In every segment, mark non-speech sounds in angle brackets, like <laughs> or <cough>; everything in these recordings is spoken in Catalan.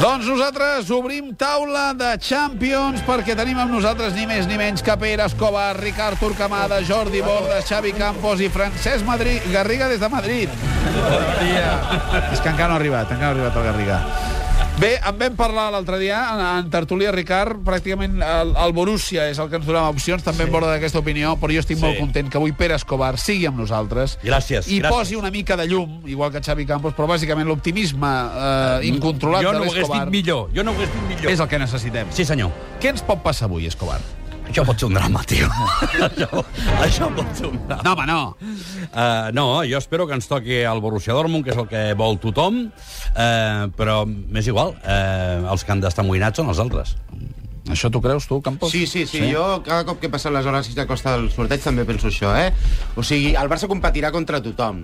Doncs nosaltres obrim taula de Champions perquè tenim amb nosaltres ni més ni menys que Pere Escobar, Ricard Turcamada, Jordi Bordes, Xavi Campos i Francesc Madrid, Garriga des de Madrid. És que encara no ha arribat, encara no ha arribat el Garriga. Bé, en vam parlar l'altre dia, en, en Tertúlia Ricard, pràcticament el, el Borussia és el que ens donava opcions, també sí. en borda d'aquesta opinió, però jo estic sí. molt content que avui Pere Escobar sigui amb nosaltres Gràcies, i gràcies. posi una mica de llum, igual que Xavi Campos, però bàsicament l'optimisme eh, incontrolat jo de no ho hagués l'Escobar dit millor. Jo no ho hagués dit millor. és el que necessitem. Sí, senyor. Què ens pot passar avui, Escobar? Això pot ser un drama, <laughs> tio. això, això pot ser un drama. No, home, no. Uh, no, jo espero que ens toqui el Borussia Dortmund, que és el que vol tothom, uh, però m'és igual, uh, els que han d'estar amoïnats són els altres. Això t'ho creus, tu, Campos? Sí, sí, sí, sí. Jo cada cop que passen les hores de costa del sorteig també penso això, eh? O sigui, el Barça competirà contra tothom.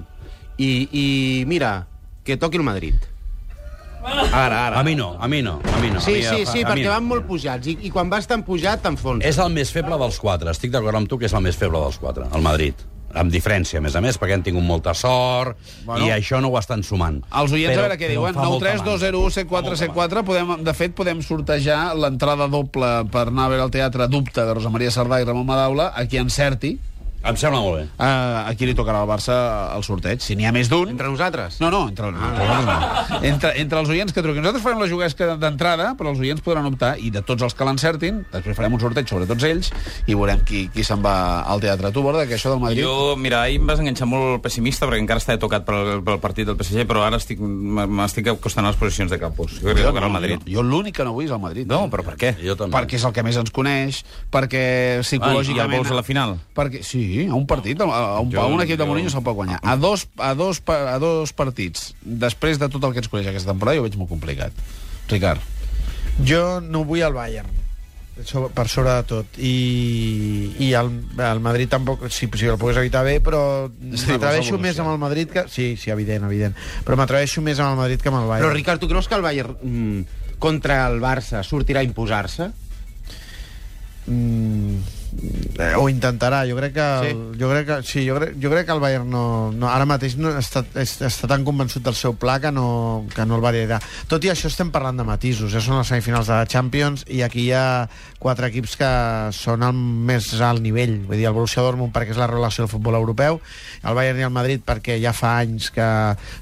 I, i mira, que toqui el Madrid. Ara, ara. A mi no, a mi no, a mi no. a Sí, mi, sí, a- a sí, mi perquè no. van molt pujats. I, i quan vas tan pujat, t'enfonses. És el més feble dels quatre. Estic d'acord amb tu que és el més feble dels quatre, el Madrid. Amb diferència, a més a més, perquè han tingut molta sort Bueno. bueno. i això no ho estan sumant. Els oients, Però- a veure què però em diuen. fa molta manca. 932017474. Podem, de fet, podem sortejar l'entrada doble per anar a veure el teatre Dubte de Rosa Maria Sardà i Ramon Madaula, a qui encerti. Em sembla molt bé. Uh, aquí li tocarà al Barça el sorteig. Si n'hi ha més d'un... Entre nosaltres? No, no, entre, Ah. entre, nosaltres no. entre, entre els oients que truquin. Nosaltres farem la juguesca d'entrada, però els oients podran optar, i de tots els que l'encertin, després farem un sorteig sobre tots ells, i veurem qui, qui se'n va al teatre. Tu, Borda, que això del Madrid... Jo, mira, ahir em vas enganxar molt pessimista perquè encara estava tocat pel, pel partit del PSG, però ara estic- m'estic acostant a les posicions de Campos. Jo crec que tocarà el Madrid. Jo, jo l'únic que no vull és el Madrid. No, però per què? Jo també. perquè és el que més ens coneix, perquè Ah, i psicològicament... el vols a la final? Perquè, sí, a un partit, a, a un, Jo- a un equip de jo- Mourinho se'l pot guanyar. A dos, a, dos, pa- a dos partits, després de tot el que ens coneix aquesta temporada, jo ho veig molt complicat. Ricard. Jo no vull el Bayern so- per sobre de tot i, i el, el Madrid tampoc si, si el pogués evitar bé però vols m'atreveixo evolucionar. més amb el Madrid que... sí, sí, evident, evident però m'atreveixo més amb el Madrid que amb el Bayern Però, Ricard, tu creus que el Bayern mm, contra el Barça sortirà a imposar-se? Mm, eh, ho intentarà jo crec que el, sí. jo crec que, sí, jo crec, jo crec que el Bayern no, no ara mateix no està, és, està tan convençut del seu pla que no, que no el variarà tot i això estem parlant de matisos ja són les semifinals de la Champions i aquí hi ha quatre equips que són al més alt nivell vull dir el Borussia Dortmund perquè és la relació del futbol europeu el Bayern i el Madrid perquè ja fa anys que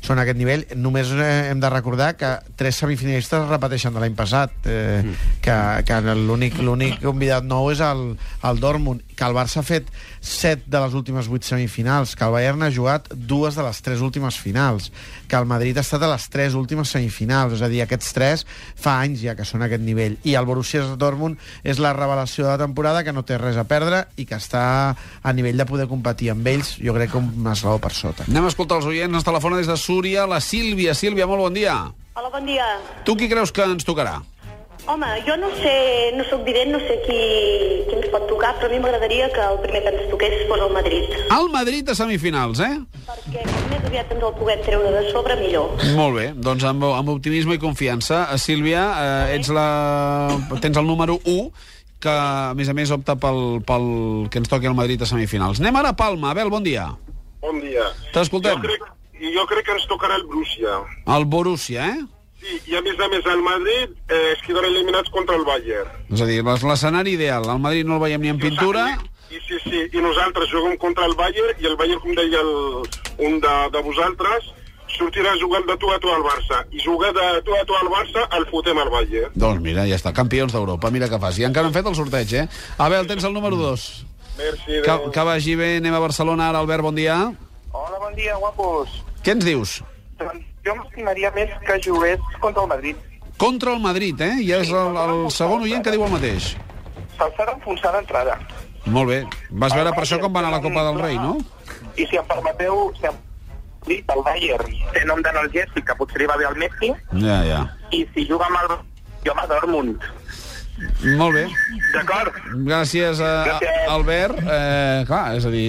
són a aquest nivell només eh, hem de recordar que tres semifinalistes es repeteixen de l'any passat eh, que, que l'únic l'únic convidat nou és el, el Dortmund que el Barça ha fet set de les últimes vuit semifinals, que el Bayern ha jugat dues de les tres últimes finals que el Madrid ha estat a les tres últimes semifinals és a dir, aquests tres fa anys ja que són a aquest nivell, i el Borussia Dortmund és la revelació de la temporada que no té res a perdre i que està a nivell de poder competir amb ells jo crec que un esglaó per sota Anem a escoltar els oients. Ens telefona des de Súria la Sílvia. Sílvia, molt bon dia. Hola, bon dia. Tu qui creus que ens tocarà? Home, jo no sé, no sóc vident, no sé qui, qui ens pot tocar, però a mi m'agradaria que el primer que ens toqués fos el Madrid, El Madrid a semifinals, eh? perquè com més aviat ens el puguem treure de sobre, millor. Molt bé, doncs amb, amb optimisme i confiança. Eh, Sílvia, eh, ets la... tens el número 1, que a més a més opta pel, pel que ens toqui el Madrid a semifinals. Anem ara a Palma. Abel, bon dia. Bon dia. T'escoltem. Jo crec, jo crec que ens tocarà el Borussia. El Borussia, eh? Sí, i a més a més el Madrid eh, es quedarà eliminats contra el Bayern. És a dir, l'es- l'escenari ideal. El Madrid no el veiem ni en pintura. I, sí, sí, i nosaltres juguem contra el Bayern i el Bayern, com deia el, un de, de vosaltres, sortirà jugant de tu a tu al Barça. I jugar de tu a tu al Barça el fotem al Bayern. Doncs mira, ja està. Campions d'Europa, mira que faci. Encara han fet el sorteig, eh? Abel, tens el número 2. Merci. Que, adéu. que vagi bé. Anem a Barcelona ara. Albert, bon dia. Hola, bon dia, guapos. Què ens dius? Doncs jo m'estimaria més que jugués contra el Madrid. Contra el Madrid, eh? Ja és el, el segon oient que diu el mateix. Se'ls ha d'enfonsar d'entrada. Molt bé. Vas veure per això com va anar la Copa del Rei, no? I si em permeteu, si em... dit el Bayern té nom d'analgèsic, que potser hi va bé el Messi, Ja, ja. i si juga amb el... Jo amb el Dortmund. Molt bé. D'acord? Gràcies, a, a, Gràcies. Albert. Eh, clar, és a dir,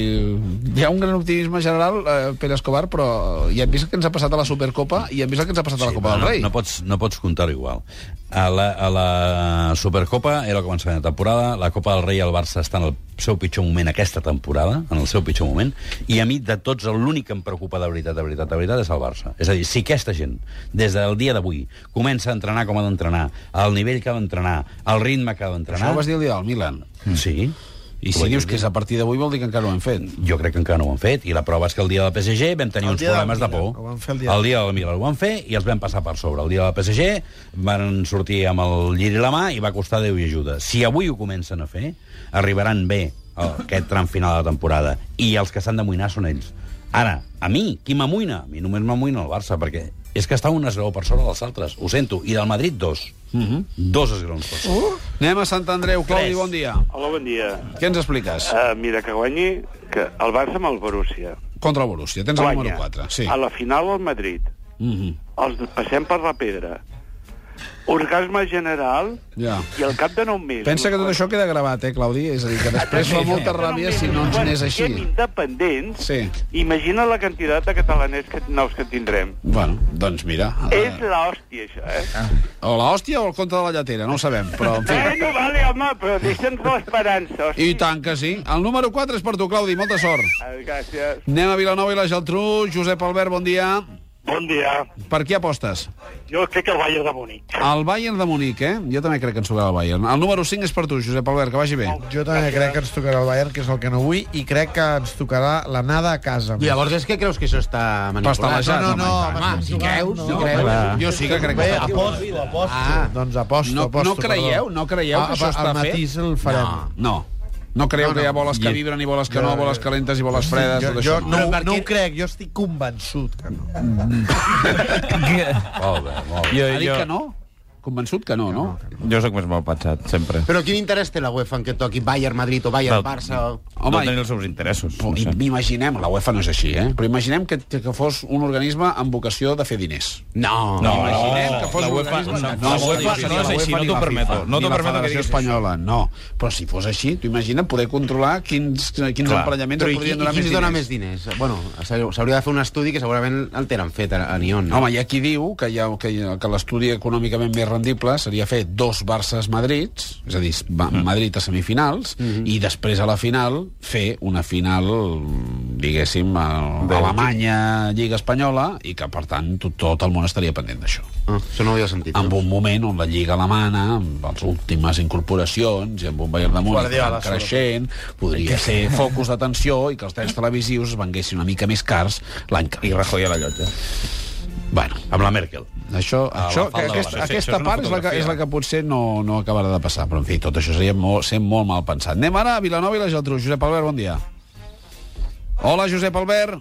hi ha un gran optimisme general, eh, Pere Escobar, però ja hem vist el que ens ha passat a la Supercopa i hem vist el que ens ha passat a la Copa no, del Rei. No, no pots, no pots comptar igual. A la, a la Supercopa era el començament de temporada, la Copa del Rei i el Barça està en el seu pitjor moment aquesta temporada, en el seu pitjor moment, i a mi de tots l'únic que em preocupa de veritat, de veritat, de veritat és el Barça. És a dir, si aquesta gent, des del dia d'avui, comença a entrenar com ha d'entrenar, al nivell que ha d'entrenar, al ritme que ha d'entrenar... Això ho vas dir el dia del Milan. Sí. I Ho si vaig dius dir. que és a partir d'avui vol dir que encara no ho hem fet. Jo crec que encara no ho han fet, i la prova és que el dia del PSG vam tenir El uns dia del problemes de Milan, por. ho van fer el dia el dia del Milan ho van fer i els vam passar per sobre. El dia del PSG van sortir amb el llir i la mà i va costar Déu i ajuda. Si avui ho comencen a fer, arribaran bé a aquest tram final de la temporada. I els que s'han d'amoïnar són ells. Ara, a mi, qui m'amoïna? A mi només m'amoïna el Barça, perquè és que està un esglaó per sobre dels altres, ho sento. I del Madrid, dos. Dos esgraons per sobre. Mhm. Anem a Sant Andreu. Claudi, Tres. bon dia. Hola, bon dia. Què ens expliques? Eh, Uh, mira, que guanyi que el Barça amb el Borussia. Contra el Borussia. Tens el número 4. Sí. A la final al Madrid. Mm Mhm. -hmm. Els passem per la pedra. Orgasme general Ja. i al cap de 9 mesos... Pensa que tot això queda gravat, eh, Claudi? És a dir, que després fa molta ràbia si no ens n'és Quan siguem així. independents, Sí. imagina la quantitat de catalanets que, nous que tindrem. Bueno, doncs mira. És l'hòstia, això, eh? Ah, O la hòstia o el conte de la lletera, no ho sabem, però en fi. Bueno, vale, home, però deixa'ns l'esperança, hòstia. I tant que sí. El número 4 és per tu, Claudi. Molta sort. Eh, Gràcies. Anem a Vilanova i la Geltrú. Josep Albert, bon dia. Bon dia. Per qui apostes? Jo crec que el Bayern de Bonic. El Bayern de Munic, eh? Jo també crec que ens tocarà el Bayern. El número 5 és per tu, Josep Albert, que vagi bé. Jo també crec que ens tocarà el Bayern, que és el que no vull, i crec que ens tocarà l'anada a casa. Llavors és que creus que això està manipulat? Pastelejat, no, no, home. Home, si creus, si No, creus. Jo sí que crec que Bé, està aposto, aposto. Ah, doncs aposto, No, aposto. no creieu, perdó. no creieu que Ah, això està al matí fet? el farem. No. No creieu No, no. que hi ha boles que vibren i boles que no, boles calentes i boles fredes, Jo, tot jo això? no, no, ho crec, jo estic convençut que no. Molt bé, molt bé. Jo, Ha dit jo, que no? Convençut que no, no? jo sóc més mal pensat, sempre. Però quin interès té la UEFA en que toqui Bayern Madrid o Bayern Barça? o- Home, Home, no tenir els seus interessos. Però No sé. M'imaginem, la UEFA no és així, eh? Però imaginem que, que fos un organisme amb vocació de fer diners. No. No, Imaginem no, que fos Ah, la un UEFA organisme- no, No, la és UEFA difícil, no és la així, UEFA no ni la t'ho permeto, FIFA, no ni t'ho la permeto que Federació diguis Espanyola, no. Però si fos així, tu imagina poder controlar quins, quins Clar. emparellaments Però et i, qui, podrien i donar qui més ens diners. dona més diners? Bueno, s'ha- s'hauria de fer un estudi que segurament el tenen fet a, a Nyon. Home, hi ha qui diu que, hi ha, que, hi ha- que l'estudi econòmicament més rendible seria fer dos Barces-Madrids, és a dir, Ma- Mm. Madrid a semifinals, Mm-hmm. i després a la final fer una final, diguéssim, a, a Alemanya, Lliga Espanyola, i que, per tant, tot, tot el món estaria pendent d'això. Ah, això no ho havia sentit. en no? un moment on la Lliga Alemana, amb les últimes incorporacions i amb un Bayern de Múnich que anava creixent, podria ser focus d'atenció i que els drets televisius es venguessin una mica més cars l'any que I ve. Rajoy a la llotja. Bueno, Amb la Merkel. això, A la això, falda de la aquesta, Mercè, aquesta això és una part és la, que, fotografia. és la que potser no, no acabarà de passar, però en fi, tot això seria molt, ser molt mal pensat. Anem ara a Vilanova i la Geltrú. Josep Albert, bon dia. Hola, Josep Albert.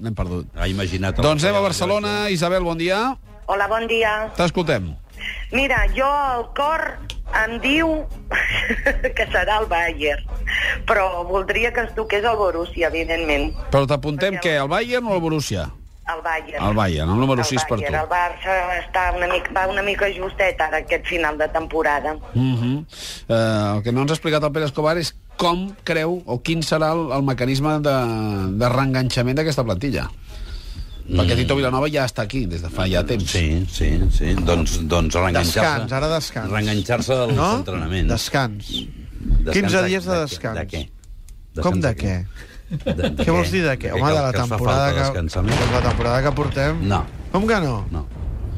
L'hem perdut. Ha imaginat... Doncs anem a Barcelona. Isabel, bon dia. Hola, bon dia. T'escoltem. Mira, jo el cor em diu <laughs> que serà el Bayern, però voldria que ens toqués el Borussia, evidentment. Però t'apuntem què, el Bayern o el Borussia? El Bayern. El Bayern, el número El 6 per tu. Bayern. El Barça està una mica, va una mica justet ara aquest final de temporada. Uh -huh. uh, el que no ens ha explicat el Pere Escobar és com creu o quin serà el, el mecanisme de, de reenganxament d'aquesta plantilla. Mm. Perquè Tito Vilanova ja està aquí des de fa ja temps. Sí, sí, sí. Doncs, doncs reenganxar-se... Descans, ara descans. Reenganxar-se dels No? entrenaments. Descans. Descans 15 de- dies de descans. De què? Com de què? Què vols dir de què? Home, de la que els fa temporada falta descansar que... més. De la temporada que portem... No. Com que no? No.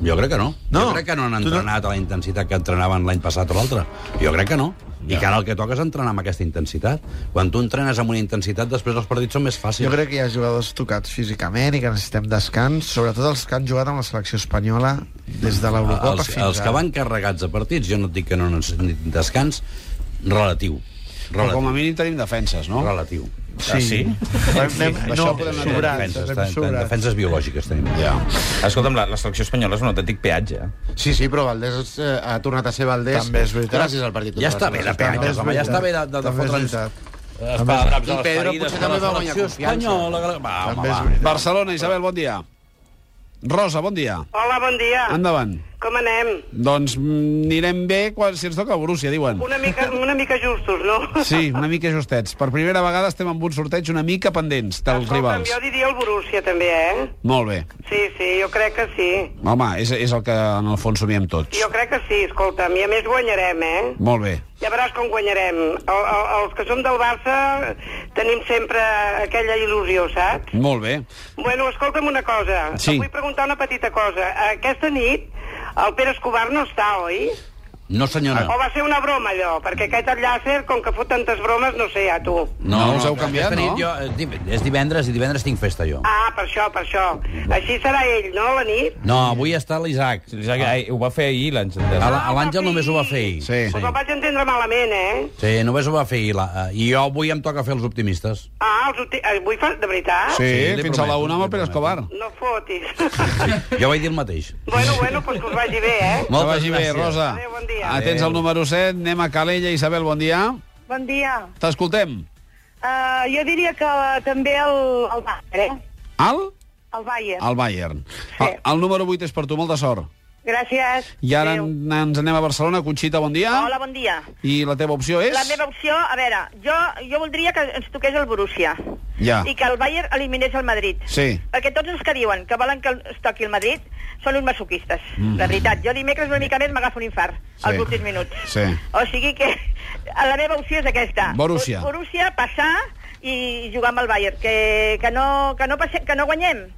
Jo crec que no. No. Jo crec que no han Tu no- entrenat a la intensitat que entrenaven l'any passat o l'altre. Jo crec que no. I que ara el que toca és entrenar amb aquesta intensitat. Quan tu entrenes amb una intensitat, després els partits són més fàcils. Jo crec que hi ha jugadors tocats físicament i que necessitem descans, sobretot els que han jugat amb la selecció espanyola des de l'Eurocopa els, fins els que ara. van carregats a partits, jo no et dic que no necessitin descans, relatiu. Però com Relatiu. a mínim tenim defenses, no? relatiu. Sí. Ah, sí? Anem, Sí, no, això podem anar sobrats, defenses, anem tan- sobrats. defenses biològiques tenim. Ja. Escolta'm, la, la selecció espanyola és un autèntic peatge. Sí, sí, però Valdés eh, ha tornat a ser Valdés. També és veritat. Gràcies al partit. Ja està bé de peatges, home, ja està bé de, de, de També és fotre'ns... veritat. espadacaps a I les Pedro ferides, potser que també la va guanyar selecció confiança. espanyola... Va, home, També és va. veritat. Barcelona, Isabel, bon dia. Rosa, bon dia. Hola, bon dia. Endavant. Com anem? Doncs mm, anirem bé quan, si ens toca Borussia, diuen. Una mica, una mica justos, no? Sí, una mica justets. Per primera vegada estem amb un sorteig una mica pendents dels Escolta'm, rivals. Jo diria el Borussia, també, eh? Molt bé. Sí, sí, jo crec que sí. Home, és, és el que en el fons somiem tots. Jo crec que sí, escolta'm, i a més guanyarem, eh? Molt bé. Ja veuràs com guanyarem. El, el, els que som del Barça tenim sempre aquella il·lusió, saps? Molt bé. Bueno, escolta'm una cosa. Sí. Et vull preguntar una petita cosa. Aquesta nit el Pere Escobar no està, oi? No, Ah. senyora. O va ser una broma, allò? Perquè aquest enllacer, com que fot tantes bromes, no sé, ja, tu. No, no us heu canviat, aquesta no? nit Jo, eh, div- és divendres i divendres tinc festa, jo. Ah, per això, per això. Així serà ell, no, la nit? No, avui està l'Isaac. Ah, Isaac, ai, ho va fer ahir, l'Àngel. A la- a L'Àngel només ho va fer ahir. Sí. Us el vaig entendre malament, eh? Sí, només ho va fer ahir. la- eh, I jo avui em toca fer els <laughs> optimistes. Ah, els uti... eh, avui fa... De veritat? Sí, Sí, li fins a la prometo, una amb el li Pere Escobar. prometo. No fotis. <laughs> Jo vaig dir el mateix. bueno, bueno, doncs que us vagi bé, eh? Que Moltes vagi bé, gràcies. Rosa. Adéu, bon dia. Atents al número 7, anem a Calella. Isabel, bon dia. Bon dia. T'escoltem. Uh, jo diria que uh, també el, el Bayern, eh? Al? El Bayern. Al Bayern. El, el número 8 és per tu, molta sort. Gràcies. I ara Adéu. en- ens anem a Barcelona. Conxita, bon dia. Hola, bon dia. I la teva opció és? La meva opció, a veure, jo, jo voldria que ens toqués el Borussia. Ja. I que el Bayern eliminés el Madrid. Sí. Perquè tots els que diuen que volen que es toqui el Madrid són uns masoquistes. Mm. La veritat, jo dimecres una mica més m'agafo un infart Sí. als últims minuts. Sí. O sigui que <laughs> la meva opció és aquesta. Borussia. Bor- Borussia, passar i jugar amb el Bayern. Que, que, no, que, no, passe, que no guanyem.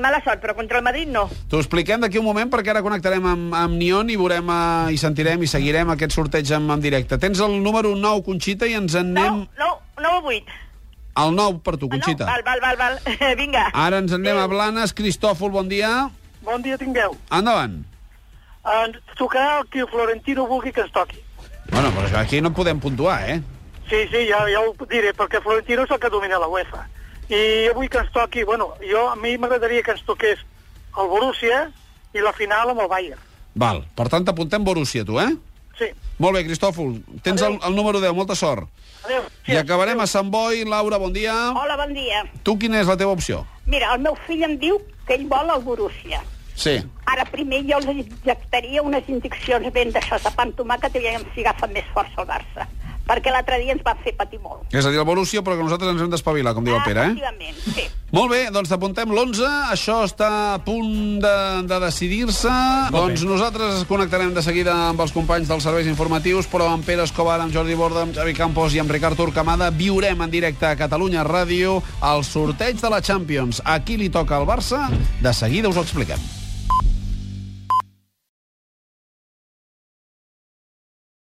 Mala sort, però contra el Madrid no. T'ho expliquem d'aquí un moment perquè ara connectarem amb, amb Nion i veurem eh, i sentirem i seguirem aquest sorteig en, en directe. Tens el número 9, Conxita, i ens en anem... 9, 9, 9 o 8. El 9 per tu, Conxita. Ah, val, val, val, val. <laughs> Vinga. Ara ens en anem a Blanes. Cristòfol, bon dia. Bon dia tingueu. Endavant. Ens tocarà el que Florentino vulgui que ens toqui. Bueno, però això aquí no podem puntuar, eh? Sí, sí, ja, ja ho diré, perquè Florentino és el que domina la UEFA. I avui que ens toqui, bueno, jo, a mi m'agradaria que ens toqués el Borussia i la final amb el Bayern. Val. Per tant, t'apuntem Borussia, tu, eh? Sí, Molt bé, Cristòfol. Tens el, el número 10, molta sort. adéu. I acabarem a Sant Boi. Laura, bon dia. Hola, bon dia. Tu quina és la teva opció? Mira, el meu fill em diu que ell vol el Borussia. Sí. Ara, primer, jo li injectaria unes injeccions ben d'això de pan tomàquet i veiem si agafa més força el Barça. Perquè l'altre dia ens va fer patir molt. Ah, És a dir, el Borussia, però que nosaltres ens hem d'espavilar, com diu el Pere, eh? Efectivament, sí. Molt bé, doncs t'apuntem l'11, això està a punt de, de decidir-se. Doncs nosaltres es connectarem de seguida amb els companys dels serveis informatius, però amb Pere Escobar, amb Jordi Borda, amb Xavi Campos i amb Ricard Turcamada viurem en directe a Catalunya Ràdio el sorteig de la Champions. A qui li toca el Barça? De seguida us ho expliquem.